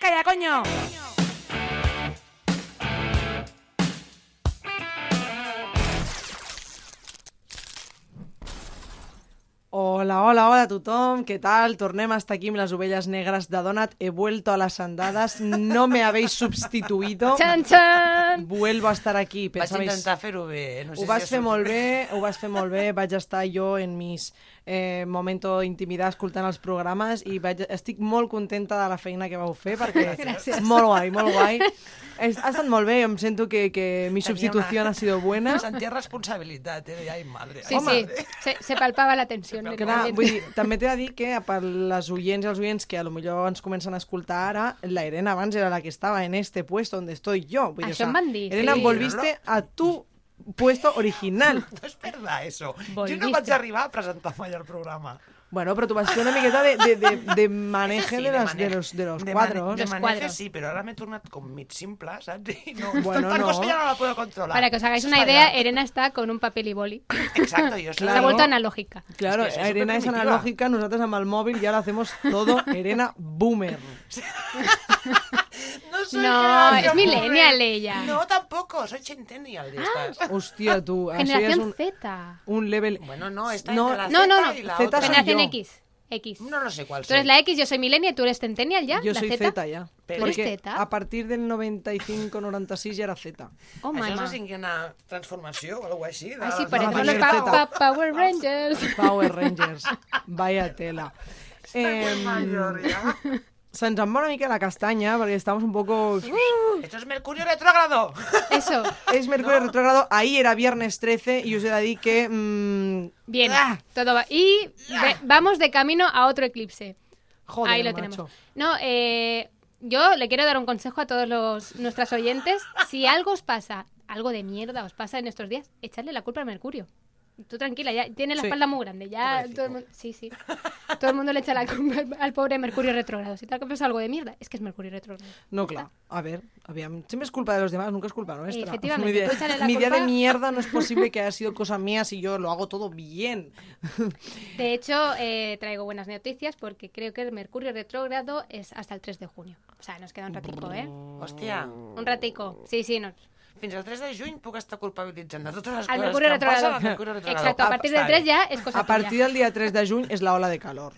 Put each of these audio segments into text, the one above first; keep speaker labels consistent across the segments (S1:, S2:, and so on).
S1: calla, coño.
S2: Hola, hola, hola a tothom, què tal? Tornem a estar aquí amb les ovelles negres de Donat. He vuelto a las andadas, no me habéis substituido.
S3: Txan, txan!
S2: Vuelvo a estar aquí.
S4: Vaig
S2: Pensabais-
S4: intentar fer-ho bé. eh? No sé
S2: ho vas
S4: si
S2: fer molt bé, ho vas fer molt bé, vaig estar jo en mis eh, momento d'intimidar escoltant els programes i vaig, estic molt contenta de la feina que vau fer perquè
S3: Gràcies.
S2: molt guai, molt guai. Es- Ha estat molt bé, em sento que, que mi substitució ha sido buena.
S4: Em sentia responsabilitat, eh? Ai, madre.
S3: Sí,
S4: ai,
S3: sí,
S4: madre.
S3: se, se palpava la tensió.
S2: Clar, vull dir, també t'he de dir que per les oients i els oients que a lo millor ens comencen a escoltar ara, la Irene abans era la que estava en este puesto on estoy yo. Vull dir,
S3: Això em van dir,
S2: Irene,
S3: sí.
S2: em volviste a tu puesto original.
S4: No és verdad, eso. Jo no
S3: Volviste.
S4: vaig arribar a presentar mai el programa.
S2: Bueno, però tu vas fer una miqueta de, de, de, de maneje
S4: Sí,
S2: de, las,
S4: mane-
S2: de los, de los
S4: de mane-
S2: cuadros.
S4: De
S3: Los
S4: maneje,
S3: cuadros.
S4: sí, però ara m'he tornat com mig simple, saps? I no,
S2: Bueno,
S4: tanta
S2: no.
S4: cosa ja no la puedo controlar.
S3: Para que os hagáis una
S4: Vaya.
S3: idea, Elena está con un papel y boli.
S4: Exacto, yo
S3: Se ha
S2: Claro.
S3: vuelto analógica.
S2: Claro,
S4: Es que soy
S2: Arena es
S4: superprimitiva.
S2: analógica, nosotros amb el móvil ya lo hacemos todo Arena Boomer.
S4: No, soy
S3: No,
S4: generación
S3: es millennial
S4: boomer.
S3: ella.
S4: No, tampoco, soy centennial de
S3: Ah.
S4: estas.
S2: Hostia, tú, això ja és
S3: Generación
S2: un,
S3: Z.
S2: un level...
S4: Bueno, no, esta
S2: No,
S4: entre la
S3: No,
S4: Z
S3: no, no.
S4: y la
S2: Z
S4: otra.
S2: soy
S3: Generación
S2: yo.
S3: X. X.
S4: No lo sé cuál
S3: Tú eres
S4: soy.
S3: la X, yo soy Millennial, tú eres Centennial ya.
S2: Yo
S3: la
S2: soy
S3: Z.
S2: Z ya.
S4: Pero-
S3: ¿Tú eres
S2: Porque
S3: Z?
S2: a partir del 95-96 ja era Z.
S3: Oh, my
S4: Això no
S3: God.
S4: sé si hi ha una transformació o alguna cosa així. de
S3: Ay, sí,
S4: la-
S3: parecemos
S2: no,
S3: los
S2: no,
S3: pa-
S2: no.
S3: pa- Power Rangers.
S2: Power Rangers. Vaya tela.
S4: Estoy muy mayor
S2: Eh,
S4: ya.
S2: se'ns en va una mica la castanya, perquè estamos un poco...
S4: Esto es Mercurio retrógrado.
S3: Eso.
S2: És Mercurio retrogrado, ahí era viernes 13, i us he de dir que... mm,
S3: Bien.
S4: Ah.
S3: Todo va. Y ve- vamos de camino a otro eclipse.
S2: joder,
S3: Ahí lo
S2: macho.
S3: tenemos. No, eh, yo le quiero dar un consejo a todos los nuestras oyentes. Si algo os pasa, algo de mierda os pasa en estos días, echarle la culpa a Mercurio. Tú tranquila, ya tiene la
S2: Sí.
S3: espalda muy grande, ya
S4: Pobrecito.
S3: todo el mundo, sí, sí. Todo el mundo le echa la culpa al, al pobre Mercurio retrógrado. Si te ha pasado algo de mierda, es que es Mercurio retrógrado.
S2: No, clar. A ver, aviam, siempre es culpa de los demás, nunca es culpa nuestra.
S3: Efectivamente,
S2: mi día,
S3: tú échale la
S2: mi día de
S3: culpa.
S2: mierda no es posible que haya sido cosa mía si yo lo hago todo bien.
S3: De hecho, eh, traigo buenas noticias porque creo que el Mercurio retrógrado es hasta el 3 de junio. O sea, nos queda un ratico, ¿eh?
S4: Hòstia,
S3: Un ratico. Sí, sí, nos,
S4: fins al 3 de juny puc estar culpabilitzant de totes les
S3: Al
S4: coses
S3: Mercurio
S4: que em passen
S3: retrógrado.
S4: al Mercurio retrógrado.
S3: Exacto, a
S4: Ah,
S3: partir del
S4: està
S3: 3
S4: bé.
S3: ya es cosa
S2: A partir
S3: tuya.
S2: del día 3 de junio es la ola de calor.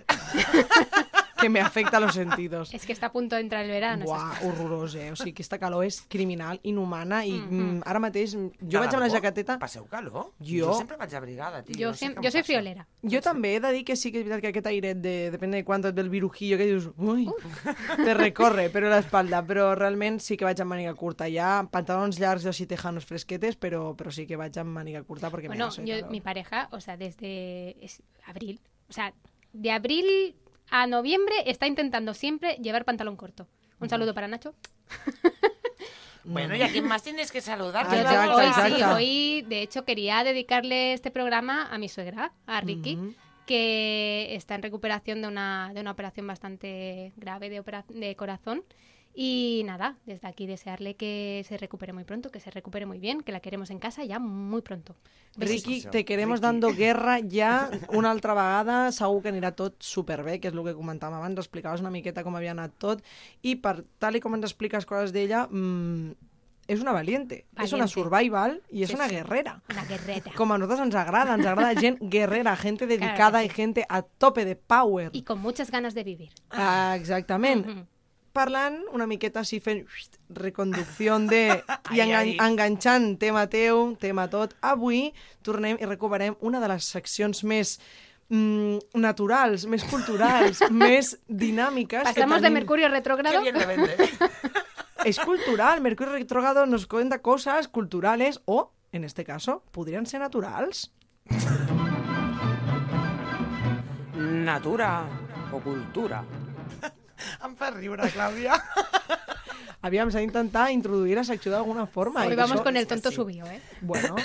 S2: que me afecta a los sentidos.
S3: Es que está a punto de entrar el verano. esas
S2: Buah,
S3: cosas.
S2: horrorós, eh? O sigui, aquesta calor és criminal, inhumana, i
S3: Mm-hmm.
S2: mm, ara mateix mm, jo
S4: De
S2: vaig amb la
S4: debò?
S2: jaqueteta...
S4: Passeu calor?
S2: Jo-
S4: Jo sempre vaig abrigada, tio.
S3: Yo,
S4: no sé
S3: siem-
S4: què em
S3: yo soy
S4: passa.
S3: friolera.
S2: Jo també he de dir que sí que és veritat que aquest airet de... Depèn de quant et ve el virujillo que dius... Ui, te recorre, però l'espalda. Però realment sí que vaig amb màniga curta. Ja pantalons llargs i així tejanos fresquetes, però, però sí que vaig amb màniga curta perquè
S3: Bueno,
S2: me hace
S3: yo,
S2: calor.
S3: mi pareja, o sea, desde es- abril, o sea, de abril a noviembre está intentando siempre llevar pantalón corto. Un saludo para Nacho.
S4: Bueno, y a
S3: Mm.
S4: quien más tienes que saludar.
S2: Ah,
S4: que
S3: Yo
S4: no
S2: exacto,
S4: hago
S3: hoy
S4: nada.
S3: sí,
S2: exacto.
S3: hoy de hecho quería dedicarle este programa a mi suegra, a Ricky,
S2: Ujú.
S3: que está en recuperación de una, de una operación bastante grave de, opera- de corazón. Y nada, desde aquí desearle que se recupere muy pronto, que se recupere muy bien, que la queremos en casa ya muy pronto.
S2: Ricky,
S4: Besitos.
S2: te queremos
S4: Ricky.
S2: dando guerra ja una altra vegada. Segur que anirà tot superbé, que és el que comentàvem abans. Explicaves una miqueta com havia anat tot. I per tal i com ens expliques coses d'ella, mmm, és una valiente. És una
S3: Valiente.
S2: survival i és
S3: Sí,
S2: una
S3: sí.
S2: guerrera.
S3: Una guerrera.
S2: Como a nosotros nos agrada, nos agrada gente guerrera, gente dedicada
S3: Claro que
S2: y gente a tope de power.
S3: Y con muchas ganas de vivir.
S2: Ah, exactament.
S3: Ujú.
S2: Parlant una miqueta així fent uxt, reconducció de... i
S4: Ai,
S2: engan
S4: ai.
S2: enganxant tema teu, tema tot. Avui tornem i recuperem una de les seccions més mm, naturals, més culturals, més dinàmiques que
S3: Pasamos de
S2: tenim.
S3: Mercurio
S4: Qué
S3: retrógrado.
S4: bien le vende.
S2: Es cultural, Mercurio retrógrado nos cuenta cosas culturales o, en este caso, podrían ser naturals.
S5: Natura o cultura.
S4: Em fa riure, Clàudia.
S2: Havíamos intentado introduir la secció d'alguna forma.
S3: Hoy
S2: i
S3: vamos
S2: això-
S3: con el
S4: es que
S3: tonto
S4: sí.
S3: subió, ¿eh?
S2: Bueno,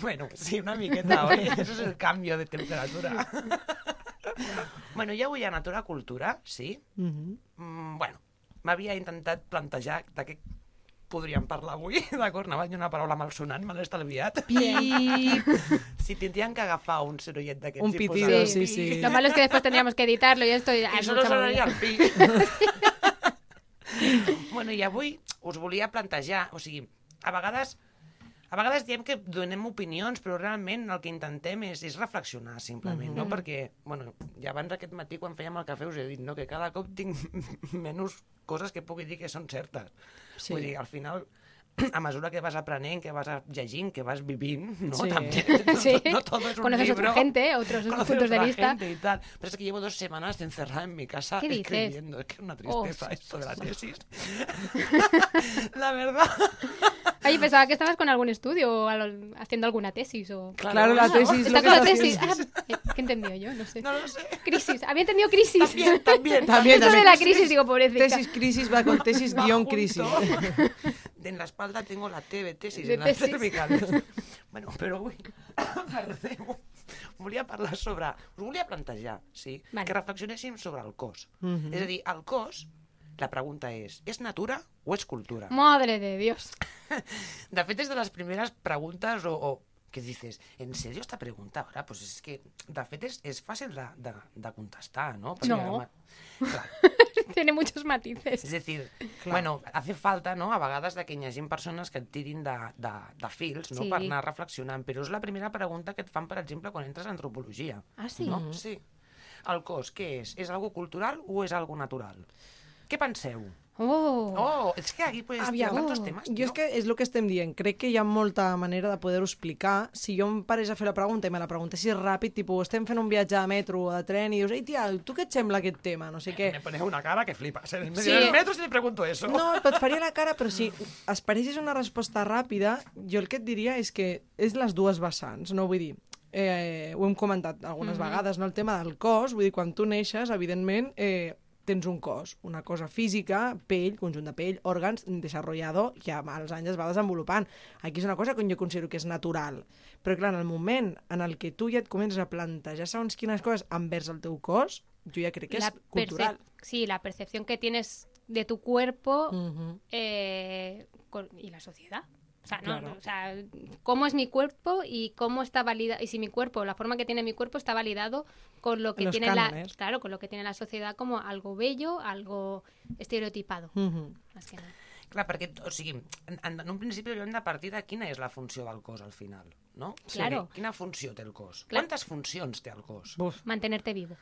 S4: Bueno, sí, una miqueta, oi? Eso és el canvi de temperatura. bueno, ja avui a Natura Cultura, sí.
S2: mhm.
S4: Mm, bueno, m'havia intentat plantejar de què podríem parlar avui, d'acord? Anava a dir una paraula malsonant, me l'he estalviat.
S2: Pip.
S4: Si tindrien que agafar un sorollet d'aquests
S2: Un
S4: i posar-
S2: pitido, sí, sí.
S3: Lo malo es que después tendríamos que editarlo y esto. y- ah,
S4: I
S3: es
S4: solo
S3: mucha
S4: sonaria
S3: movida.
S4: el pi. Bueno, i avui us volia plantejar, o sigui, a vegades a vegades diem que donem opinions, però realment el que intentem és, és reflexionar, simplement,
S3: Mhm.
S4: no? Perquè, bueno, ja abans aquest matí, quan fèiem el cafè, us he dit, no?, que cada cop tinc menys coses que pugui dir que són certes.
S2: Sí.
S4: Sí. Vull dir, al final, a mesura que vas aprenent, que vas llegint, que vas vivint, no?
S2: Sí.
S4: També,
S3: Sí.
S4: no tot és un
S3: Conoces
S4: libro.
S3: otra gente, otros
S4: Conoces
S3: puntos de
S4: otra
S3: vista.
S4: gente y tal. Pero es que llevo dos semanas encerrada en mi casa
S3: ¿Qué dices?
S4: escribiendo. Es que es una
S3: Oh,
S4: tristeza
S3: sí,
S4: esto de la tesis. la verdad.
S3: Ay, pensaba que estabas con algún estudio o algo- haciendo alguna tesis o...
S2: Claro, la
S4: bueno,
S2: tesis, lo
S3: Está
S2: que
S3: con la
S2: estás
S3: tesis.
S2: haciendo.
S3: Ah, eh, ¿Qué entendió yo? No sé.
S4: No lo sé.
S3: Crisis. Había entendido crisis.
S4: También, también.
S2: También,
S3: Eso de
S2: también.
S3: la crisis, digo, pobrecita.
S2: Tesis crisis va con tesis
S4: Va
S2: guión
S4: junto.
S2: crisis.
S4: En la espalda tengo la T de tesis,
S3: De
S4: en
S3: tesis.
S4: les cervicals. bueno, però avui perdeu. volia parlar sobre... Us volia plantejar, sí,
S3: Vale.
S4: vale. que reflexionéssim sobre el cos.
S2: Mhm.
S4: És a dir, el cos, la pregunta és, és natura o és cultura?
S3: Madre de Dios.
S4: De fet, és de les primeres preguntes o, o que dices, ¿en serio esta pregunta ahora? Pues és que, de fet, és, és fàcil de, de, de contestar, no?
S3: No.
S4: home, Clar,
S3: Tiene muchos matices.
S4: És a dir, bueno, hace falta, no?, a vegades de que hi hagi persones que et tirin de, de, de fils, no?,
S3: Sí.
S4: sí. per anar reflexionant, però és la primera pregunta que et fan, per exemple, quan entres a antropologia,
S3: Ah, sí.
S4: no? Sí. El cos, què és? És algo cultural o és algo natural? Què penseu?
S3: Oh.
S4: Oh, és que aquí pues, hi ha
S2: Aviam.
S4: tantos
S3: Oh.
S4: temes,
S2: Jo és
S4: no?
S2: que és el que estem dient. Crec que hi ha molta manera de poder-ho explicar. Si jo em parés a fer la pregunta i me la preguntessis ràpid, tipus, estem fent un viatge de metro o de tren i dius, ei, tia, tu què et sembla aquest tema? No sé què.
S4: Me pones una cara que flipas. En medio
S3: Sí.
S4: del metro si te pregunto eso.
S2: No, però et faria la cara, però si esperessis una resposta ràpida, jo el que et diria és que és les dues vessants, no? Vull dir, eh, ho hem comentat algunes vegades, no? El tema del cos, vull dir, quan tu neixes, evidentment, eh, tens un cos, una cosa física, pell, conjunt de pell, òrgans, desarrollado, que amb els anys es va desenvolupant. Aquí és una cosa que jo considero que és natural. Però, clar, en el moment en el que tu ja et comences a plantejar segons quines coses envers el teu cos, jo ja crec que
S3: La
S2: és cultural.
S3: percep- Sí, la percepción que tienes de tu cuerpo
S2: Mhm.
S3: eh, con- y la sociedad. O sea, no,
S2: Claro.
S3: o sea, cómo es mi cuerpo y cómo está validado y si mi cuerpo, la forma que tiene mi cuerpo está validado con lo que
S2: Los
S3: tiene la
S2: cánones.
S3: claro, con lo que tiene la sociedad como algo bello, algo estereotipado,
S2: Mhm.
S3: más que nada.
S4: Clar, perquè, o sigui, en, en en un principi hauríem de partir de quina és la funció del cos al final, no? O sigui,
S3: Claro.
S4: Quina funció té el cos?
S3: Clar.
S4: Quantes funcions té el cos?
S2: Buf.
S3: Mantenerte vivo.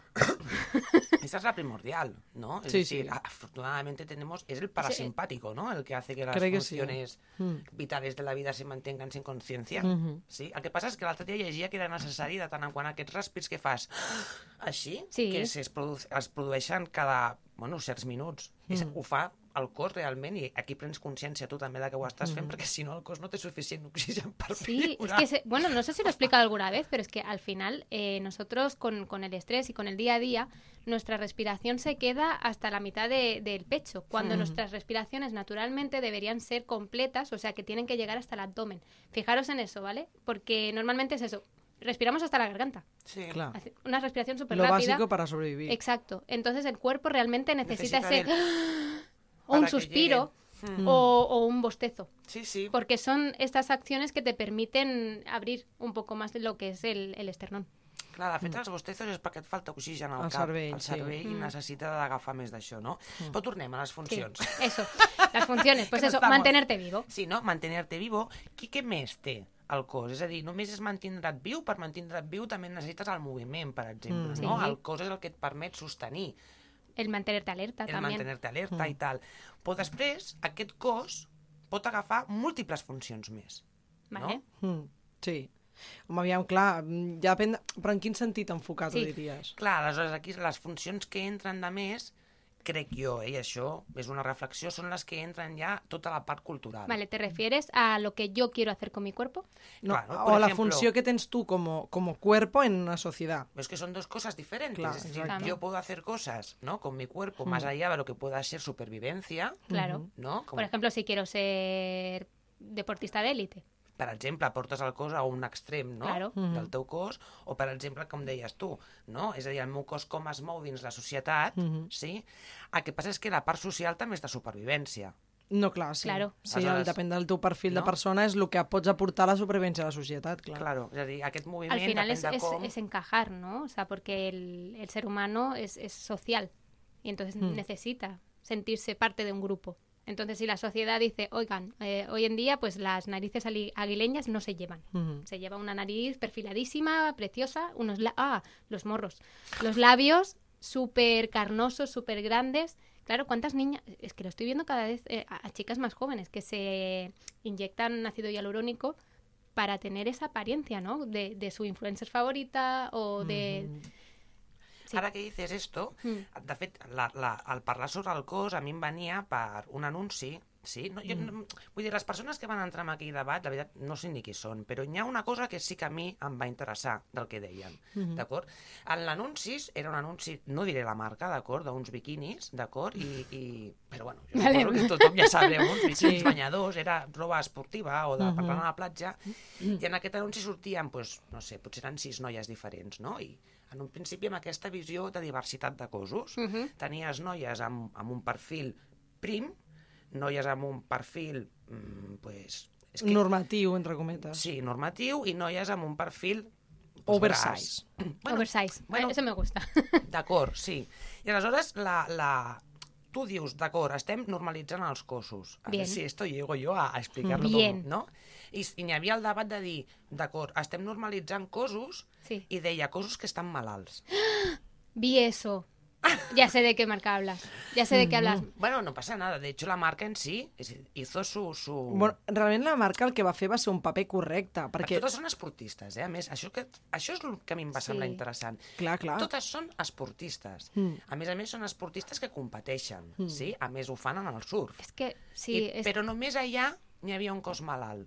S4: Esa es la primordial, ¿no? Es
S2: Sí,
S4: decir,
S2: sí.
S4: afortunadamente tenemos, es el parasimpático, ¿no? El que hace que las
S2: Creo que sí.
S4: funciones
S2: Mm.
S4: vitales de la vida se mantengan sin conciencia.
S2: Mhm.
S4: Sí, el que passa és que l'altre dia llegia que era necessari de tant en quant aquests respirs que fas així,
S3: Sí.
S4: que es, produ es produeixen cada, bueno, certs minuts. Mm. És, ho fa el cos realment i aquí prens consciència tu també de que ho estàs fent perquè si no el cos no té suficient oxigen per
S3: Sí, es que, se- bueno, no sé si lo he explicado alguna vez, pero es que al final eh, nosotros con, con el estrés y con el día a día, nuestra respiración se queda hasta la mitad de- del pecho, cuando
S4: Hmm.
S3: nuestras respiraciones naturalmente deberían ser completas, o sea, que tienen que llegar hasta el abdomen. Fijaros en eso, ¿vale? Porque normalmente es eso, respiramos hasta la garganta,
S4: Sí,
S2: Clar.
S3: hace- una respiración súper
S2: Lo
S3: rápida.
S2: básico para sobrevivir.
S3: Exacto, entonces el cuerpo realmente necesita,
S4: Necesita
S3: ese... O
S4: para
S3: un
S4: que Hmm.
S3: suspiro
S2: Mm.
S3: o- o un bostezo.
S4: sí, sí.
S3: Porque son estas acciones que te permiten abrir un poco más lo que es el, el esternón.
S4: Clar, de fet, els bostezos és perquè et falta oxigen al
S2: Al
S4: cap,
S2: cervell,
S4: al
S2: sí.
S4: cervell i necessita d'agafar més d'això, no? Però tornem a les
S3: Sí,
S4: funcions.
S3: eso, las funciones. Pues
S4: Que no
S3: eso,
S4: estamos.
S3: mantenerte vivo.
S4: Sí, no? Mantenerte vivo. Qui, què més té el cos? És a dir, només és mantindre't viu, per mantindre't viu també necessites el moviment, per exemple,
S2: Mm.
S4: no?
S3: Sí.
S4: El cos és el que et permet sostenir,
S3: El mantenerte alerta
S4: el
S3: también.
S4: mantenir-te alerta i tal. Però després, aquest cos pot agafar múltiples funcions més.
S3: ¿vale?
S4: no?
S2: Mm, sí. Home, aviam, clar, mm, ja depèn... de- Però en quin sentit enfocat
S3: Sí.
S2: ho diries?
S4: Clar, aleshores aquí les funcions que entren de més, crec jo, eh, i això és una reflexió, són les que entren ja tota la part cultural.
S3: Vale, ¿te refieres a lo que yo quiero hacer con mi cuerpo?
S2: No,
S4: Claro,
S2: o
S4: por
S2: la
S4: ejemplo-
S2: funció que tens tu como, como cuerpo en una sociedad.
S4: Pero es que son dos cosas diferentes.
S2: Claro, Mm.
S4: es decir,
S3: exacto.
S4: yo puedo hacer cosas, ¿no? Con mi cuerpo, más allá de lo que pueda ser supervivencia,
S3: Claro.
S4: ¿no? Como,
S3: Por ejemplo, si quiero ser deportista de élite.
S4: per exemple, aportes el cos a un extrem, no?
S3: Claro.
S4: Del teu cos, o per exemple, com deies tu, no? És a dir, el meu cos com es mou dins la societat,
S2: Mm.
S4: sí? El que passa és que la part social també és de supervivència.
S2: No, clar, sí.
S3: Claro.
S2: Sí, el,
S4: Aleshores-
S2: depèn del teu perfil
S4: No?
S2: de persona és el que pots aportar a la supervivència a la societat, clar.
S4: Claro, és a dir, aquest moviment
S3: Al final
S4: depèn
S3: es,
S4: de
S3: es-
S4: com...
S3: es encajar, ¿no? O sea, porque el, el ser humano es, es social y entonces necesita sentirse parte de un grupo. Entonces, si la sociedad dice, oigan, eh, hoy en día pues las narices ali- aguileñas no se llevan.
S2: Ujú.
S3: Se lleva una nariz perfiladísima, preciosa, unos... la- ah, los morros. Los labios súper carnosos, súper grandes. Claro, ¿cuántas niñas? Es que lo estoy viendo cada vez eh, a, a chicas más jóvenes que se inyectan ácido hialurónico para tener esa apariencia, ¿no? De, de su influencer favorita o de...
S4: Mhm.
S3: Sí.
S4: Ara que dices esto,
S3: Mm.
S4: de fet, la, la, el parlar sobre el cos a mi em venia per un anunci, sí? No, jo, no, vull dir, les persones que van entrar en aquell debat, la veritat, no sé ni qui són, però hi ha una cosa que sí que a mi em va interessar del que deien,
S2: Mhm. Mm.
S4: d'acord? En l'anuncis, era un anunci, no diré la marca, d'acord? D'uns biquinis, d'acord? I, i... Però bueno, jo
S3: Vale.
S4: suposo que tothom ja sabreu, uns biquinis
S2: Sí.
S4: sí. banyadors, era roba esportiva o de per
S2: Mhm.
S4: anar a la platja, i en aquest anunci sortien, doncs, no sé, potser eren sis noies diferents, no? I en un principi amb aquesta visió de diversitat de cossos,
S3: Ujú.
S4: tenies noies amb, amb un perfil prim, noies amb un perfil, mm, pues, és que,
S2: Normatiu, entre cometes.
S4: sí, normatiu, i noies amb un perfil pues,
S2: Oversize.
S4: gras.
S3: Oversize. Eh,
S4: bueno.
S3: Eso me gusta.
S4: D'acord, sí. I aleshores la... la... Tu dius, d'acord, estem normalitzant els cossos. A
S3: Bien.
S4: ver si esto llego jo a, a explicar-lo
S3: Bien.
S4: tot, no? I, s- i n'hi havia el debat de dir, d'acord, estem normalitzant cossos
S3: Sí.
S4: i deia cossos que estan malalts.
S3: Vi eso. Ya sé de qué marca hablas. Ya sé de qué hablas.
S4: Bueno, no pasa nada. De hecho, la marca en sí es- hizo su... su...
S2: Bueno, realment la marca el que va fer va ser un paper correcte, perquè...
S4: Totes són esportistes, eh? A més, això, que, això és el que a mi em va
S3: Sí.
S4: semblar interessant.
S2: Clar, clar.
S4: Totes són esportistes.
S2: Ah. Mm.
S4: A més a més, són esportistes que competeixen, sí? A més, ho fan en el surf.
S3: Es que sí,
S4: I,
S3: es
S4: Eh, Però només allà n'hi havia un cos malalt.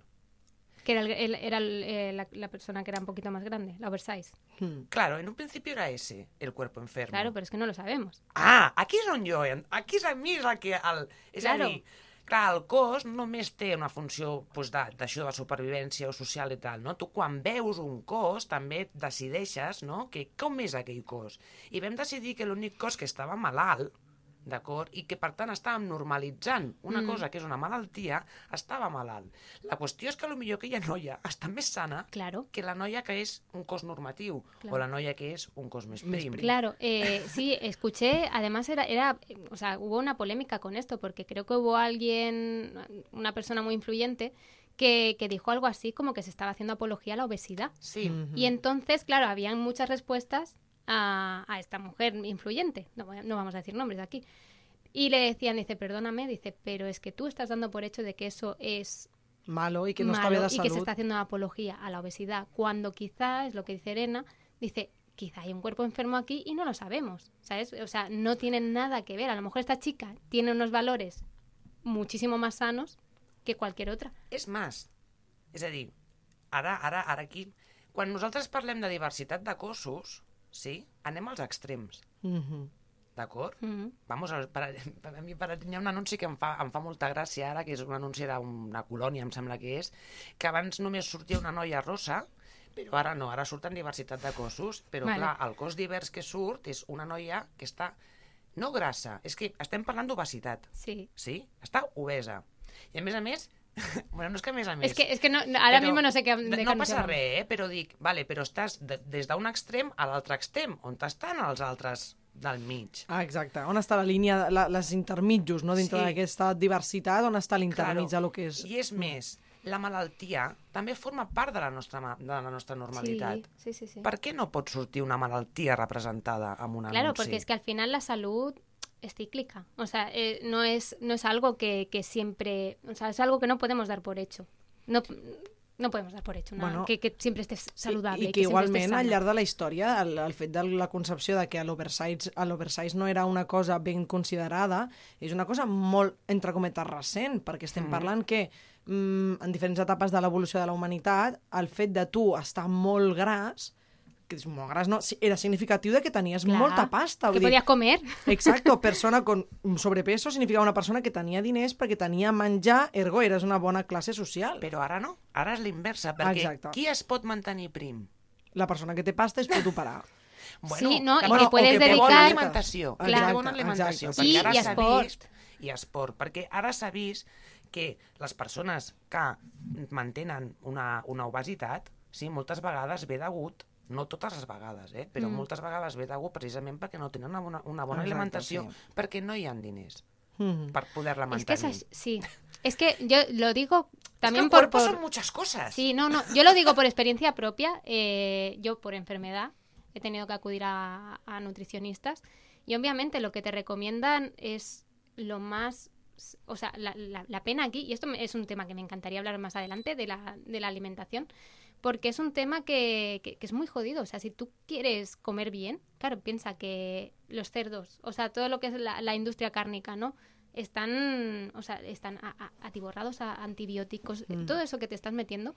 S3: que era, el- el- era el- eh, la, la persona que era un poquito más grande, la oversize.
S2: Mm.
S4: Claro, en un principio era ese, el cuerpo enfermo.
S3: Claro, pero es que no lo sabemos.
S4: Ah, aquí és on jo... en- Aquí és a mi és el que... El, és
S3: Claro.
S4: a dir, clar, el cos només té una funció doncs, de- d'això de, la supervivència o social i tal, no? Tu quan veus un cos també decideixes, no?, que com és aquell cos. I vam decidir que l'únic cos que estava malalt, d'acord? I que, per tant, estàvem normalitzant una mm. cosa que és una malaltia, estava malalt. La qüestió és que potser aquella noia està més sana
S3: Claro.
S4: que la noia que és un cos normatiu
S3: Clar.
S4: o la noia que és un cos més prim.
S3: Claro, eh, sí, escuché, además era, era, eh, o sea, hubo una polémica con esto, porque creo que hubo alguien, una persona muy influyente, que, que dijo algo así como que se estaba haciendo apología a la obesidad.
S4: Sí.
S2: Mhm.
S3: Y entonces, claro, habían muchas respuestas a, a esta mujer influyente, no, voy a- no vamos a decir nombres aquí. Y le decían, dice, perdóname, dice, pero es que tú estás dando por hecho de que eso es
S2: Malo i que no està
S3: malo
S2: bé de
S3: y que se
S2: salut.
S3: está haciendo apología a la obesidad, cuando quizá, es lo que dice Elena, dice, quizá hay un cuerpo enfermo aquí y no lo sabemos, ¿sabes? O sea, no tienen nada que ver. A lo mejor esta chica tiene unos valores muchísimo más sanos que cualquier otra.
S4: És més, és a dir, ara, ara, ara aquí, quan nosaltres parlem de diversitat de cossos, sí, anem als extrems,
S2: Mhm.
S4: d'acord?
S3: Ujú.
S4: Vamos, a, per, per, a mi per, hi ha un anunci que em fa, em fa molta gràcia ara, que és un anunci d'una colònia, em sembla que és, que abans només sortia una noia rossa, però ara no, ara surten diversitat de cossos, però
S3: Vale.
S4: vale. clar, el cos divers que surt és una noia que està no grassa, és que estem parlant d'obesitat,
S3: Sí.
S4: sí? Està obesa. I a més a més, bueno, no és que a més a més...
S3: Es que, es que no, no, ahora
S4: Però
S3: mismo no sé qué... de
S4: no
S3: qué
S4: No
S3: anuncio
S4: passa
S3: hablamos.
S4: res, eh? però dic, vale, però estàs de, des d'un extrem a l'altre extrem, on estan els altres del mig.
S2: Ah, exacte. On està la línia, la, les intermitjos, no? Dintre
S4: Sí.
S2: d'aquesta diversitat, on està l'intermig de lo que és...
S4: I és més, la malaltia també forma part de la nostra, ma- de la nostra normalitat.
S3: Sí, sí, sí. sí.
S4: Per què no pot sortir una malaltia representada amb un
S3: Claro,
S4: anunci?
S3: porque es que al final la salud es cíclica. O sea, eh, no, es, no es algo que, que siempre. O sea, es algo que no podemos dar por hecho. No, no podemos dar por hecho. nada,
S2: Bueno,
S3: que, que siempre estés saludable.
S2: I, i que,
S3: siempre estés
S2: igualment,
S3: sano.
S2: al llarg de la història, el, el fet de la concepció de que a l'oversize a l'oversize no era una cosa ben considerada és una cosa molt, entre cometes, recent, perquè estem mm. parlant que mm, en diferents etapes de l'evolució de la humanitat, el fet de tu estar molt gras que és molt gras, no? Sí, Era significatiu de que tenies
S3: Clar,
S2: molta pasta.
S3: Que
S2: vull dir,
S3: podías comer.
S2: Exacto, persona con sobrepeso significava una persona que tenia diners perquè tenia menjar, ergo eres una bona classe social.
S4: Però ara no, ara és l'inversa, perquè
S2: Exacte.
S4: qui es pot mantenir prim?
S2: La persona que té pasta és pot operar.
S3: Sí, no,
S4: que-
S3: i que Bueno, puedes
S4: o que té bona
S3: dedicar-
S4: alimentació, que té
S3: Clar.
S4: bona alimentació,
S2: Exacte,
S4: perquè
S3: I-
S4: ara
S3: i
S4: s'ha
S3: esport.
S4: vist- i esport, perquè ara s'ha vist que les persones que mantenen una, una obesitat, sí, moltes vegades ve degut no totes les vegades, eh? però mm. moltes vegades ve degut precisament perquè no tenen una bona, una bona
S2: Exacte,
S4: alimentació,
S2: sí.
S4: perquè no hi ha diners.
S2: Mm.
S4: per poder-la
S3: Es
S4: mantenir.
S3: que es así- sí. Es que yo lo digo también
S4: el
S3: por,
S4: cuerpo
S3: por-
S4: son muchas cosas.
S3: Sí, no, no. Yo lo digo por experiencia propia. eh, yo por enfermedad he tenido que acudir a, a nutricionistas y obviamente lo que te recomiendan es lo más... O sea, la, la- la pena aquí, y esto me- es un tema que me encantaría hablar más adelante, de la, de la alimentación, porque es un tema que, que- que es muy jodido. O sea, si tú quieres comer bien, claro, piensa que los cerdos, o sea, todo lo que es la, la industria cárnica, ¿no? Están, o sea, están a- a- atiborrados a antibióticos, eh,
S2: Mm.
S3: todo eso que te estás metiendo,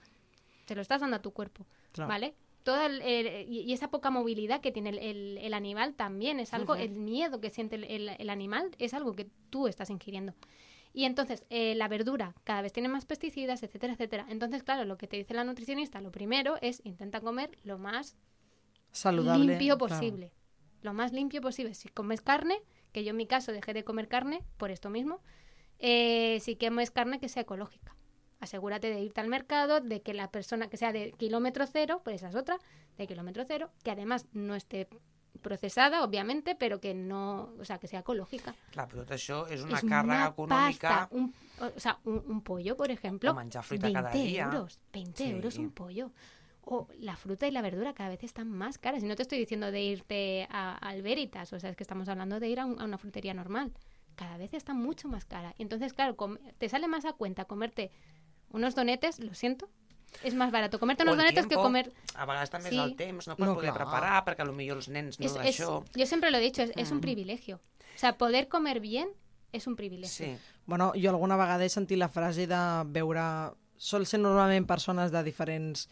S3: te lo estás dando a tu cuerpo,
S2: Claro.
S3: ¿vale? Todo el- el- y y esa poca movilidad que tiene el, el- el animal también es algo,
S2: Ujú.
S3: el miedo que siente el, el- el animal es algo que tú estás ingiriendo. Y entonces, eh, la verdura cada vez tiene más pesticidas, etcétera, etcétera. Entonces, claro, lo que te dice la nutricionista, lo primero es intenta comer lo más
S2: Saludable.
S3: limpio
S2: claro.
S3: posible. Lo más limpio posible. Si comes carne, que yo en mi caso dejé de comer carne por esto mismo, eh, si comes carne que sea ecológica. Asegúrate de irte al mercado, de que la persona que sea de kilómetro cero, pues esa es otra, de kilómetro cero, que además no esté procesada, obviamente, pero que no, o sea, que sea ecológica.
S4: Clar, però tot això és una
S3: es
S4: càrrega
S3: una
S4: econòmica.
S3: pasta, un, o sea, un, un pollo, por ejemplo,
S4: O manchar fruita cada día.
S3: euros, 20
S4: Sí.
S3: euros un pollo. O la fruta y la verdura cada vez están más caras. Y no te estoy diciendo de irte a, al Veritas, o sea, es que estamos hablando de ir a, un- a una frutería normal. Cada vez está mucho más cara. Y entonces, claro, com- te sale más a cuenta comerte unos donetes, lo siento, es más barato comerte
S4: O
S3: unos
S4: el
S3: donetes que
S4: tiempo.
S3: comer
S4: A vegades també
S3: Sí.
S4: és el temps, no pots
S2: No,
S4: poder
S2: clar.
S4: preparar, perquè a lo millor els nens no
S3: Es- es-
S4: això...
S3: yo siempre lo he dicho, es, es
S4: Ah.
S3: un privilegio. O sea, poder comer bien es un privilegio.
S4: Sí.
S2: Bueno, jo alguna vegada he sentit la frase de veure... Sol ser normalment persones de diferents...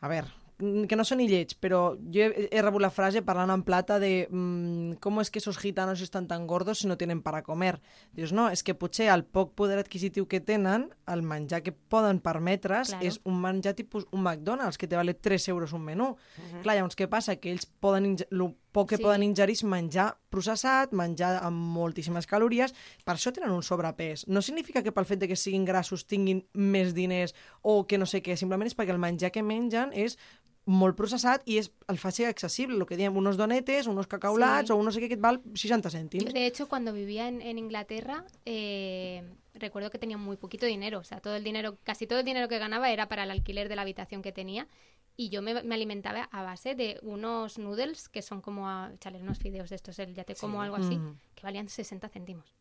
S2: A veure, mm, que no són ni lleig, però jo he, he rebut la frase parlant en plata de mm, com és que esos gitanos estan tan gordos si no tenen para comer. Dius, no, és que potser el poc poder adquisitiu que tenen, el menjar que poden permetre's
S3: Claro.
S2: claro. és un menjar tipus un McDonald's, que te vale 3 euros un menú. Clar, llavors què passa? Que ells poden... inge- lo poc que
S3: Mm.
S2: sí.
S3: Sí.
S2: poden ingerir és menjar processat, menjar amb moltíssimes calories, per això tenen un sobrepès. No significa que pel fet de que siguin grassos tinguin més diners o que no sé què, simplement és perquè el menjar que mengen és molt processat i és, el fa ser accessible, el que diem, unos donetes, unos cacaulats
S3: Sí.
S2: sí. o no sé què que et val 60
S3: Yo,
S2: cèntims.
S3: de hecho, cuando vivía en, en Inglaterra, eh, recuerdo que tenía muy poquito dinero. O sea, todo el dinero, casi todo el dinero que ganaba era para el alquiler de la habitación que tenía. Y yo me, me alimentaba a base de unos noodles que son como, a, chale, unos fideos de estos, el ya te como
S4: Sí.
S3: algo así,
S2: Mm.
S3: que valían 60 céntimos.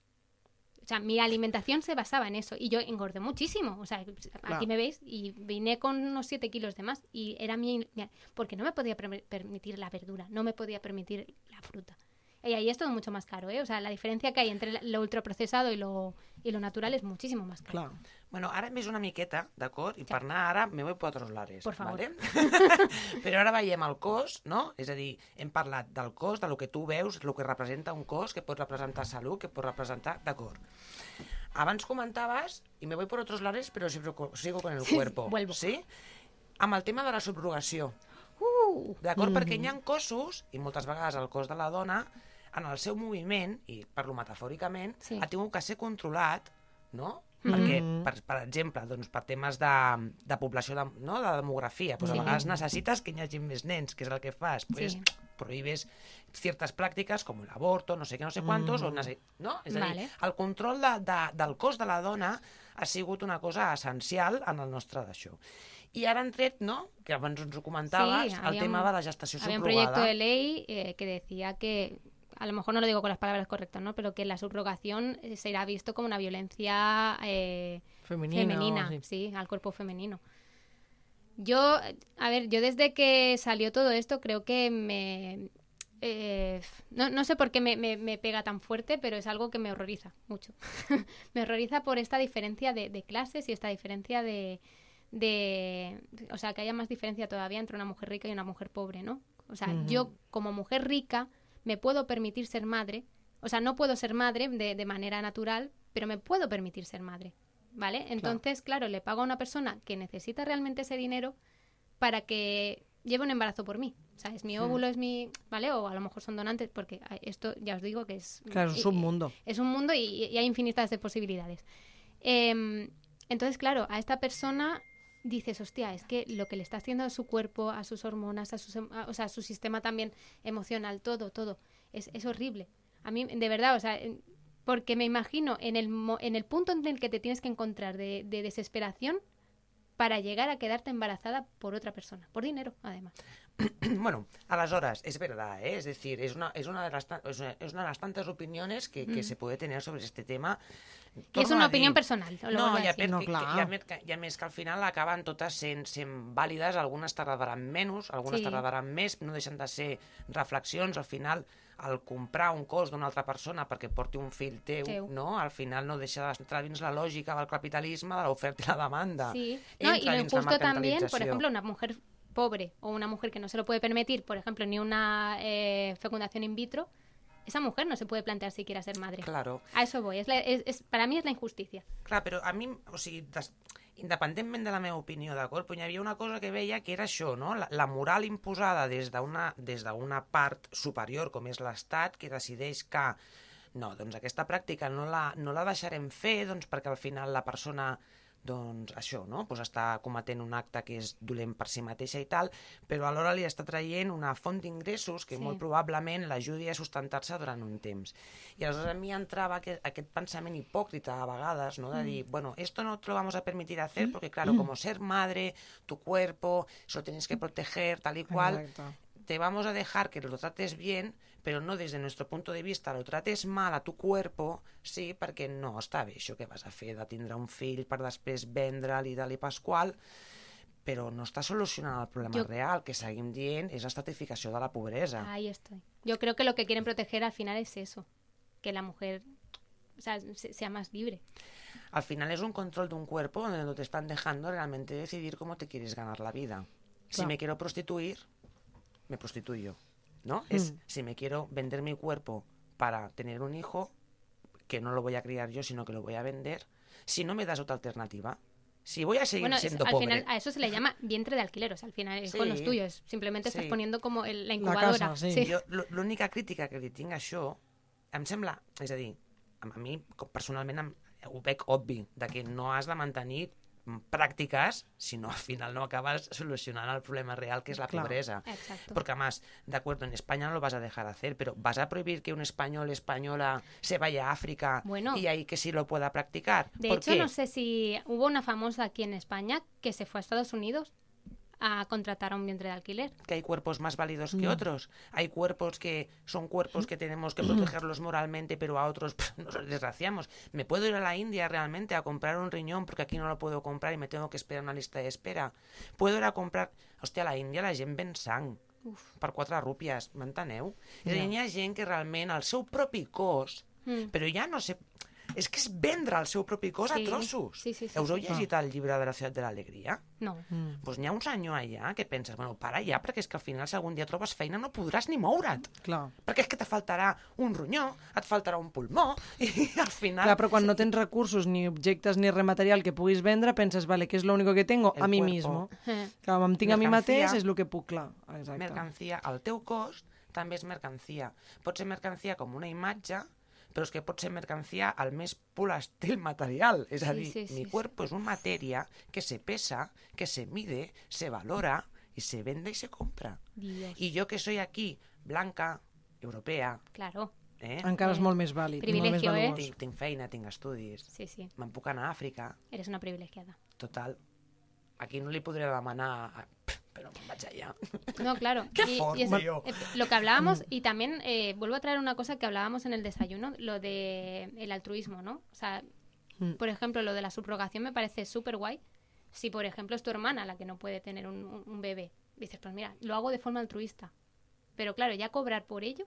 S3: O sea, mi alimentación se basaba en eso. Y yo engordé muchísimo. O sea, aquí
S2: Claro.
S3: me veis y vine con unos 7 kilos de más. Y era mi... mi- Porque no me podía permi- permitir la verdura, no me podía permitir la fruta. Y ahí es todo mucho más caro, ¿eh? O sea, la diferencia que hay entre la- lo ultraprocesado y lo, y lo natural es muchísimo más caro.
S2: Clar.
S4: Bueno, ara més una miqueta, d'acord? I per anar ara me voy por otros lares.
S3: Por favor.
S4: Vale? Però ara veiem el cos, no? És a dir, hem parlat del cos, de lo que tu veus, el que representa un cos, que pot representar salut, que pot representar... D'acord. Abans comentaves, i me voy por otros lares, però siempre co- sigo con el cuerpo.
S3: vuelvo.
S4: Sí? Amb el tema de la subrogació.
S3: ¡Uh!
S4: D'acord? Mm -hmm. Perquè hi ha cossos, i moltes vegades el cos de la dona, en el seu moviment, i parlo metafòricament,
S3: Sí. Mm-hmm.
S4: sí. ha tingut que ser controlat, no? Perquè, per, per exemple, doncs, per temes de, de població, de, no? de demografia, doncs
S3: Sí.
S4: a vegades necessites que hi hagi més nens, que és el que fas. Pues,
S3: Sí.
S4: prohibes ciertas pràctiques com l'aborto, no sé què, no sé quantos, mm. o nece- no? És a dir,
S3: Vale.
S4: el control de, de, del cos de la dona ha sigut una cosa essencial en el nostre d'això. I ara han tret, no?, que abans ens ho comentaves,
S3: Sí,
S4: el
S3: había
S4: tema
S3: un-
S4: de la gestació
S3: Había un
S4: subrogada.
S3: proyecto de ley eh, que decía que, a lo mejor no lo digo con las palabras correctas, ¿no? Pero que la subrogación eh, será visto como una violencia eh,
S2: Femenina.
S3: femenina,
S2: o- sí.
S3: sí, al cuerpo femenino. Yo, eh, a ver, yo desde que salió todo esto creo que me... eh, no, no sé por qué me, me- me pega tan fuerte, pero es algo que me horroriza mucho. me horroriza por esta diferencia de, de clases y esta diferencia de, de... O sea, que haya más diferencia todavía entre una mujer rica y una mujer pobre, ¿no? O sea,
S2: Ujú.
S3: yo como mujer rica me puedo permitir ser madre. O sea, no puedo ser madre de, de manera natural, pero me puedo permitir ser madre. ¿Vale? Entonces, claro, le pago a una persona que necesita realmente ese dinero para que lleve un embarazo por mí. O sea, es mi óvulo, es mi... ¿Vale? O a lo mejor son donantes, porque a- esto ya os digo que es...
S2: Clar, és un
S3: eh,
S2: submundo.
S3: Es un mundo y, y hay infinitas de posibilidades. Em, entonces, claro, a esta persona dices, hostia, es que lo que le está haciendo a su cuerpo, a sus hormonas, a, sus, em- a- o sea, a su sistema también emocional, todo, todo, es, es horrible. A mí, de verdad, o sea, en- Porque me imagino en el, mo- en el punto en el que te tienes que encontrar de, de desesperación para llegar a quedarte embarazada por otra persona, por dinero, además.
S4: Bueno, a las horas, es verdad, ¿eh? es decir, es una, es, una de las, ta- es una- es una de las tantas opiniones que, que se puede tener sobre este tema.
S3: Y es
S4: Torno a
S3: Mm. una
S4: dir,
S3: opinión personal. Lo
S4: No,
S3: vuelvo a
S4: i a,
S3: decir.
S4: per,
S2: No,
S4: que,
S2: clar.
S4: que, i a, més, que, i a més que al final acaben totes sent, sent vàlides, algunes tardaran menys, algunes
S3: Sí.
S4: tardaran més, no deixen de ser reflexions, al final el comprar un cos d'una altra persona perquè porti un fill teu,
S3: Teu.
S4: no? al final no deixa d'entrar dins la lògica del capitalisme, de l'oferta i la demanda.
S3: Sí,
S4: Entra
S3: no, y lo
S4: dins la
S3: injusto también, por
S4: mercantilització.
S3: ejemplo, una mujer pobre o una mujer que no se lo puede permitir, por ejemplo, ni una eh, fecundación in vitro, esa mujer no se puede plantear si quiere ser madre.
S4: Claro.
S3: A eso voy, es la- es- es- para mí es la injusticia.
S4: Clar, però a mi, o sigui, des... independentment de la meva opinió, d'acord? Però hi havia una cosa que veia que era això, no? La, la moral imposada des d'una des d'una part superior, com és l'Estat, que decideix que no, doncs aquesta pràctica no la, no la deixarem fer doncs, perquè al final la persona doncs això, no? Pues està cometent un acte que és dolent per si mateixa i tal, però alhora li està traient una font d'ingressos que
S3: Sí.
S4: molt probablement l'ajudi a sustentar-se durant un temps. I aleshores a mi entrava aquest, aquest pensament hipòcrita a vegades, no? de dir, bueno, esto no te lo vamos a permitir hacer porque, claro, como ser madre, tu cuerpo, eso lo tienes que proteger, tal y cual,
S2: Exacto.
S4: te vamos a dejar que lo trates bien, pero no desde nuestro punto de vista, lo trates mal a tu cuerpo, sí, perquè no està bé això que vas a fer de tindre un fill per després vendre'l i tal i pasqual, però no està solucionant el problema
S3: Jo-
S4: real, que seguim dient és l'estratificació de la pobresa.
S3: Ahí estoy. Yo creo que lo que quieren proteger al final es eso, que la mujer o sea, se- sea más libre.
S4: Al final es un control de un cuerpo donde no te están dejando realmente decidir cómo te quieres ganar la vida. Si
S2: Claro.
S4: me quiero prostituir, me prostituyo,
S3: Mm.
S4: ¿no? Es si me quiero vender mi cuerpo para tener un hijo, que no lo voy a criar yo, sino que lo voy a vender. Si no me das otra alternativa, si voy a seguir
S3: Bueno, es-
S4: siendo
S3: al
S4: pobre.
S3: final a eso se le llama vientre de alquiler, o sea, al final es
S4: Sí.
S3: con los tuyos, simplemente estás
S4: Sí.
S3: poniendo como el- la
S2: La
S3: incubadora.
S2: casa, sí.
S3: sí.
S4: jo, l'ú- l'única crítica que li tinc a això, em sembla, és a dir, a a mi com personalment em, ho veig obvi, de que no has de mantenir pràctiques si no al final no acabas solucionant el problema real que és la
S2: Clar.
S4: pobresa.
S3: Exacto.
S4: Porque además, de acuerdo, en España no lo vas a dejar hacer, pero ¿vas a prohibir que un español, española, se vaya a África
S3: Bueno.
S4: y ahí que sí lo pueda practicar?
S3: De
S4: ¿Por
S3: hecho,
S4: qué?
S3: no sé si hubo una famosa aquí en España que se fue a Estados Unidos a contratar a un vientre de alquiler.
S4: que hay cuerpos más válidos que otros. Hay cuerpos que son cuerpos que tenemos que protegerlos moralmente, pero a otros pff, nos desgraciamos. Me puedo ir a la India realmente a comprar un riñón porque aquí no lo puedo comprar y me tengo que esperar una lista de espera. Puedo ir a comprar... Hòstia, a la Índia la gent ven sang per quatre rúpies, m'enteneu? És a dir, hi ha gent que realment el seu propi cos,
S3: Mm.
S4: però ja no sé... És que és vendre el seu propi cos
S3: Sí,
S4: a trossos.
S3: sí, sí, sí,
S4: Us heu
S3: sí.
S4: llegit el llibre de la ciutat de l'alegria?
S3: No.
S2: Mm,
S4: pues n'hi ha un senyor allà que penses, bueno, para ja, perquè és que al final si algun dia trobes feina no podràs ni moure't.
S2: Clar.
S4: Perquè és que te faltarà un ronyó, et faltarà un pulmó, i al final...
S2: Clar, però quan no tens recursos, ni objectes, ni rematerial que puguis vendre, penses, vale, que és l'únic que tengo?
S4: El
S2: a mi
S4: cuerpo.
S2: mismo.
S3: Eh.
S2: Que em tinc a mi
S4: Mercancia.
S2: mateix és el que puc, clar. Exacte.
S4: mercancia, el teu cost també és mercancia. Pot ser mercancia com una imatge, però és que pot ser mercancia al més pur estil material. És a
S3: Sí,
S4: dir,
S3: sí, sí,
S4: mi
S3: sí.
S4: cuerpo és una matèria que se pesa, que se mide, se valora, y se vende y se compra.
S3: Dios.
S4: Y yo que soy aquí, blanca, europea,
S3: Claro.
S4: ¿eh?
S2: Encara és molt més vàlid, molt més
S3: Privilegio, eh?
S2: valuós.
S4: tinc, tinc feina, tinc estudis,
S3: Sí, sí.
S4: me'n puc anar a Àfrica,
S3: Eres una privilegiada.
S4: total, aquí no li podré demanar, a- però me'n vaig allà.
S3: No, claro.
S4: Qué Mm. forma, yo.
S3: eh, lo que hablábamos, y también eh, vuelvo a traer una cosa que hablábamos en el desayuno, lo de el altruismo, ¿no? O sea,
S2: Mm.
S3: por ejemplo, lo de la subrogación me parece súper guay. Si, por ejemplo, es tu hermana la que no puede tener un, un- un bebé, dices, pues mira, lo hago de forma altruista. Pero claro, ya cobrar por ello,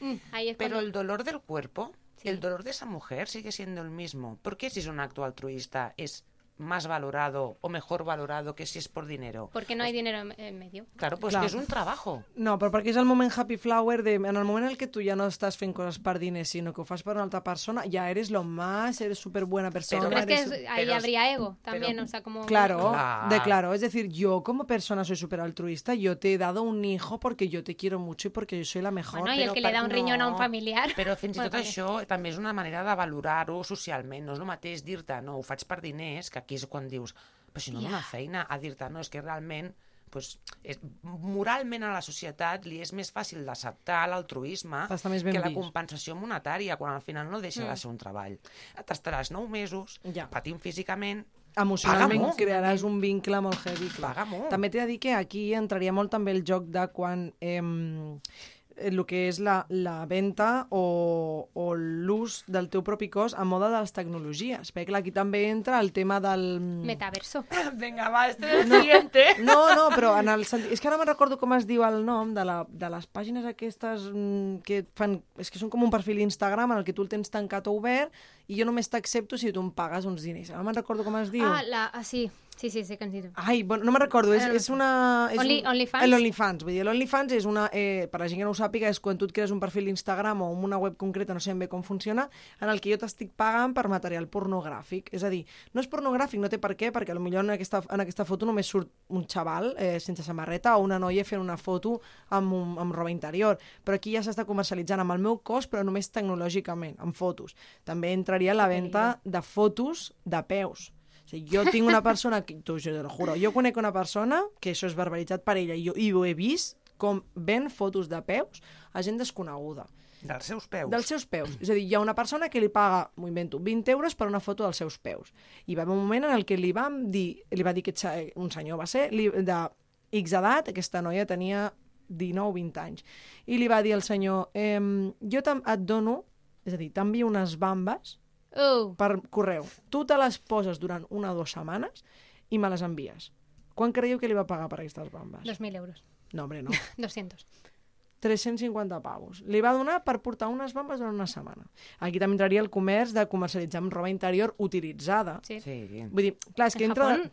S3: mm, ahí es
S4: Pero
S3: cuando-
S4: el dolor del cuerpo,
S3: Sí.
S4: el dolor de esa mujer sigue siendo el mismo. ¿Por qué si es un acto altruista es más valorado o mejor valorado que si es por dinero?
S3: Porque no hay dinero en, en medio.
S4: Claro, pues
S2: Clar.
S4: que es un trabajo.
S2: No, però perquè és el moment happy flower de... En el moment en el que tu ja no estàs fent coses per diners, sinó que ho fas per una altra persona, ja eres lo más, eres superbuena persona.
S4: Pero
S3: Pero es que
S2: eres
S3: es-
S2: su-
S3: ahí
S4: pero-
S3: habría ego también,
S4: pero-
S3: o sea, como...
S2: Claro,
S4: Claro.
S2: de claro. Es decir, yo como persona soy súper altruista, yo te he dado un hijo porque yo te quiero mucho y porque yo soy la mejor.
S3: Bueno, y el
S4: Però
S3: que le da un
S4: per-
S3: riñón a un
S4: no,
S3: familiar.
S4: Però fins i
S3: Bueno,
S4: tot
S3: vale.
S4: això també és una manera de valorar-ho socialment. No és el mateix dir-te, no, ho faig per diners, que aquí és quan dius, però si no yeah.
S3: Ja.
S4: dona feina, a dir-te, no, és que realment doncs, és, moralment a la societat li és més fàcil d'acceptar l'altruisme
S2: Està més ben
S4: que la
S2: vist. Mm.
S4: compensació monetària, quan al final no deixa de ser un treball. T'estaràs nou mesos,
S2: Ja.
S4: patint físicament,
S2: Emocionalment
S4: Paga molt.
S2: crearàs un vincle molt heavy. Clar.
S4: Paga molt.
S2: També t'he de dir que aquí entraria molt també el joc de quan em, el que és la, la venda o, o l'ús del teu propi cos a moda de les tecnologies. Perquè clar, aquí també entra el tema del...
S3: Metaverso.
S4: Venga, va, este es el siguiente.
S2: No, no, però en el sentit... És que ara me'n recordo com es diu el nom de, la, de les pàgines aquestes mm, que fan... És que són com un perfil Instagram en el que tu el tens tancat o obert i jo només t'accepto si tu em pagues uns diners. Ara me'n recordo com es diu.
S3: Ah, la, ah, sí, sí, sí, sí que ens diu.
S2: Ai, bueno, no me'n recordo, és,
S3: Ara no
S2: és una... És
S3: Only-
S2: un,
S3: OnlyFans?
S2: El OnlyFans, vull dir, l'OnlyFans és una... Eh, per la gent que no ho sàpiga, és quan tu et crees un perfil d'Instagram o una web concreta, no sé ben bé com funciona, en el que jo t'estic pagant per material pornogràfic. És a dir, no és pornogràfic, no té per què, perquè potser en aquesta, en aquesta foto només surt un xaval eh, sense samarreta o una noia fent una foto amb, un, amb roba interior. Però aquí ja s'està comercialitzant amb el meu cos, però només tecnològicament, amb fotos. També entraria la venda de fotos de peus. O sigui, jo tinc una persona, que, tu, jo te lo juro, jo conec una persona que això és barbaritzat per ella i, jo, i ho he vist com ven fotos de peus a gent desconeguda,
S4: Dels seus peus.
S2: dels seus peus. És a dir, hi ha una persona que li paga, m'ho invento, 20 euros per una foto dels seus peus. I va haver un moment en el que li vam dir, li va dir que un senyor va ser, li, de X edat, aquesta noia tenia 19 o 20 anys, i li va dir al senyor, ehm, jo te'n- et dono, és a dir, t'envio unes bambes
S3: Oh,
S2: per correu. Tu te les poses durant una o dues setmanes i me les envies. Quan creieu que li va pagar per aquestes bambes?
S3: 2.000 euros.
S2: No, home, no.
S3: 200.
S2: 350 pavos. Li va donar per portar unes bambes durant una setmana. Aquí també entraria el comerç de comercialitzar amb roba interior utilitzada.
S3: Sí.
S4: Sí.
S2: Vull dir, clar, és que
S3: en
S2: entra...
S3: Japón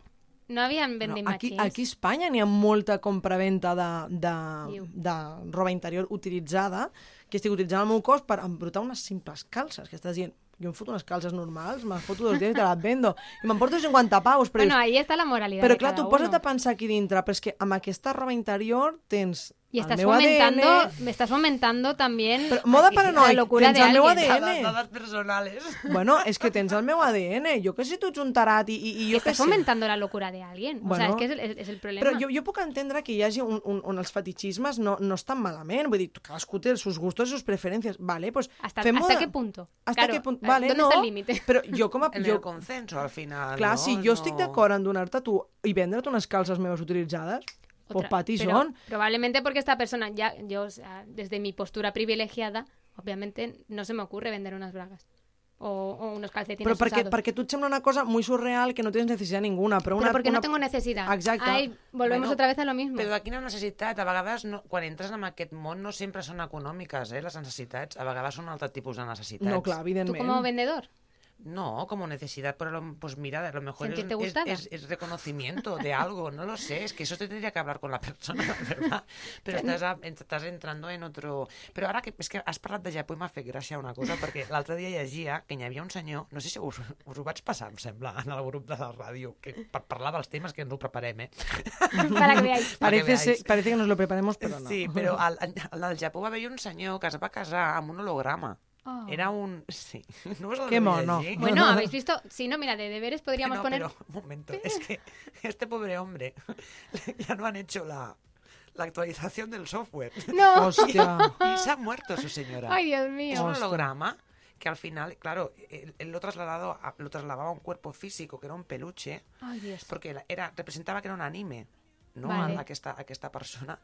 S3: no habían vending
S2: No, aquí,
S3: machines.
S2: aquí a Espanya n'hi ha molta compraventa de, de,
S3: Iu.
S2: de roba interior utilitzada, que estic utilitzant el meu cos per embrutar unes simples calces, que estàs dient, jo em foto unes calces normals, me'n foto dos dies i te les vendo, i me'n porto 50 paus, però,
S3: Bueno,
S2: dius,
S3: ahí está la moralidad
S2: però
S3: de
S2: clar,
S3: cada
S2: tu posa't
S3: uno.
S2: a pensar aquí dintre, però és que amb aquesta roba interior tens
S3: Y estás
S2: el meu ADN...
S3: fomentando, estás fomentando también
S2: Però moda paranoic,
S3: la locura
S2: tens
S3: de
S2: el meu
S3: alguien.
S2: ADN.
S4: Dades, dades personales.
S2: Bueno, és que tens el meu ADN, jo que si tu ets un tarat i, i, i
S3: Que
S2: jo que
S3: estás
S2: sé...
S3: fomentando la locura de alguien. o
S2: Bueno,
S3: sea, es que es el, es- es el problema.
S2: Però jo, jo puc entendre que hi hagi un, un, on els fetichismes no, no estan malament, vull dir, cadascú té els seus gustos i les seves preferències, vale, pues
S3: ¿Hasta,
S2: fem
S3: ¿hasta
S2: moda-
S3: qué punto?
S2: Hasta
S3: Claro, eh,
S2: qué punto? Vale,
S3: ¿Dónde
S2: no, Pues
S3: está el límite?
S2: Però jo com a...
S4: En
S2: Jo,
S4: el consenso, al final.
S2: clar,
S4: no?
S2: si jo
S4: No.
S2: estic d'acord en donar-te tu i vendre-te unes calces meves utilitzades, pues
S3: Otra-
S2: pati
S3: pero
S2: són.
S3: Probablemente porque esta persona, ya yo, o sea, desde mi postura privilegiada, obviamente no se me ocurre vender unas bragas o, o unos calcetines
S2: Però perquè,
S3: usados.
S2: perquè tu et sembla una cosa muy surreal que no tens necessitat ninguna, però una...
S3: Pero porque
S2: una...
S3: no tengo necesidad.
S2: Exacto.
S3: Ahí volvemos
S4: Bueno,
S3: otra vez a lo mismo.
S4: Però de quina necessitat? A vegades, no, quan entres en aquest món, no sempre són econòmiques, eh, les necessitats. A vegades són altre tipus de necessitats.
S2: No, clar,
S3: Tú
S2: evidentment.
S3: como vendedor.
S4: No, como necesidad, pero lo- pues doncs, mira, a lo mejor es,
S3: Sentirte
S4: es-
S3: gustada.
S4: es- es reconocimiento de algo, no lo sé, es que eso te tendría que hablar con la persona, la ¿verdad? Pero estás, a- estás entrando en otro... Però ara que, és que has parlat de Japó i m'ha fet gràcia una cosa, perquè l'altre dia llegia que hi havia un senyor, no sé si us, us ho vaig passar, em sembla, en el grup de la ràdio, que per parlar dels temes que ens ho preparem, eh?
S3: para que veáis.
S4: Para que
S2: Parece, ser,
S4: veáis.
S2: parece que nos lo preparemos, però no.
S4: Sí, però al, al, al Japó va haver un senyor que es va casar amb un holograma.
S3: Oh.
S4: Era un... Sí, no us el
S2: Que
S4: vull
S2: mono.
S4: llegir.
S3: Bueno, habéis visto. Si no, mira, de deberes podríamos
S4: no,
S3: poner.
S4: pero un momento, es que este pobre hombre ya no han hecho la, la actualización del software
S3: No.
S2: Hòstia.
S4: y se ha muerto su señora.
S3: Ah. Ay, Dios
S4: es
S3: mío.
S4: un
S2: hostia.
S4: holograma que al final, claro, él, él lo trasladado a- lo trasladaba a un cuerpo físico que era un peluche
S3: Ay, Dios.
S4: porque la- era representava que era un anime no?
S3: Vale.
S4: A, aquesta, aquesta persona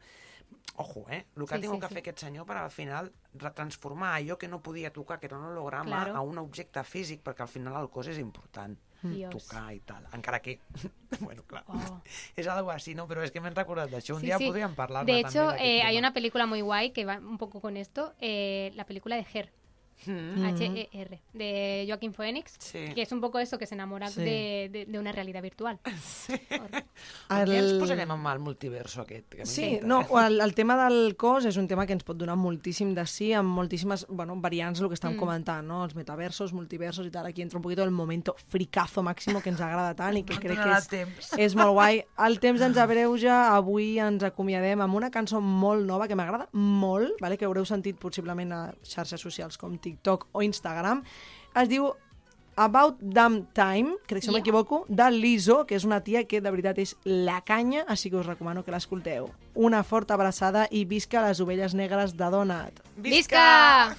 S4: ojo, eh? El que
S3: Sí,
S4: ha tingut
S3: sí,
S4: que
S3: sí.
S4: fer aquest senyor per al final transformar allò que no podia tocar, que era un holograma,
S3: Claro.
S4: a un objecte físic, perquè al final el cos és important
S3: Dios.
S4: tocar i tal, encara que bueno, clar,
S3: Oh.
S4: és algo així, no? Però és que m'he recordat d'això, un
S3: Sí,
S4: dia
S3: sí.
S4: podríem parlar
S3: De hecho, eh, hay una película muy guay que va un poco con esto. eh, la película de Her.
S4: Mm.
S3: H-E-R. De Joaquín Phoenix.
S4: Sí.
S3: Que es un poco eso que se enamora
S2: Sí.
S3: de, de- de una realidad virtual.
S4: El... Ja ens
S2: El-
S4: posarem amb el multiverso aquest. Que
S2: Sí,
S4: m'encanta. eh.
S2: no, o el, el tema del cos és un tema que ens pot donar moltíssim de sí, amb moltíssimes bueno, variants, el que estem mm. comentant, no? els metaversos, multiversos i tal, aquí entra un poquito el momento fricazo màximo que ens agrada tant i que
S4: No
S2: crec que
S4: donarà
S2: és,
S4: temps.
S2: és molt guai. El temps ens abreuja, avui ens acomiadem amb una cançó molt nova que m'agrada molt, vale? que haureu sentit possiblement a xarxes socials com TikTok o Instagram. Es diu About Damn Time, crec que si no
S3: Yeah.
S2: m'equivoco, de l'Iso, que és una tia que de veritat és la canya, així que us recomano que l'escolteu. Una forta abraçada i visca les ovelles negres de Donat.
S3: ¡Visca!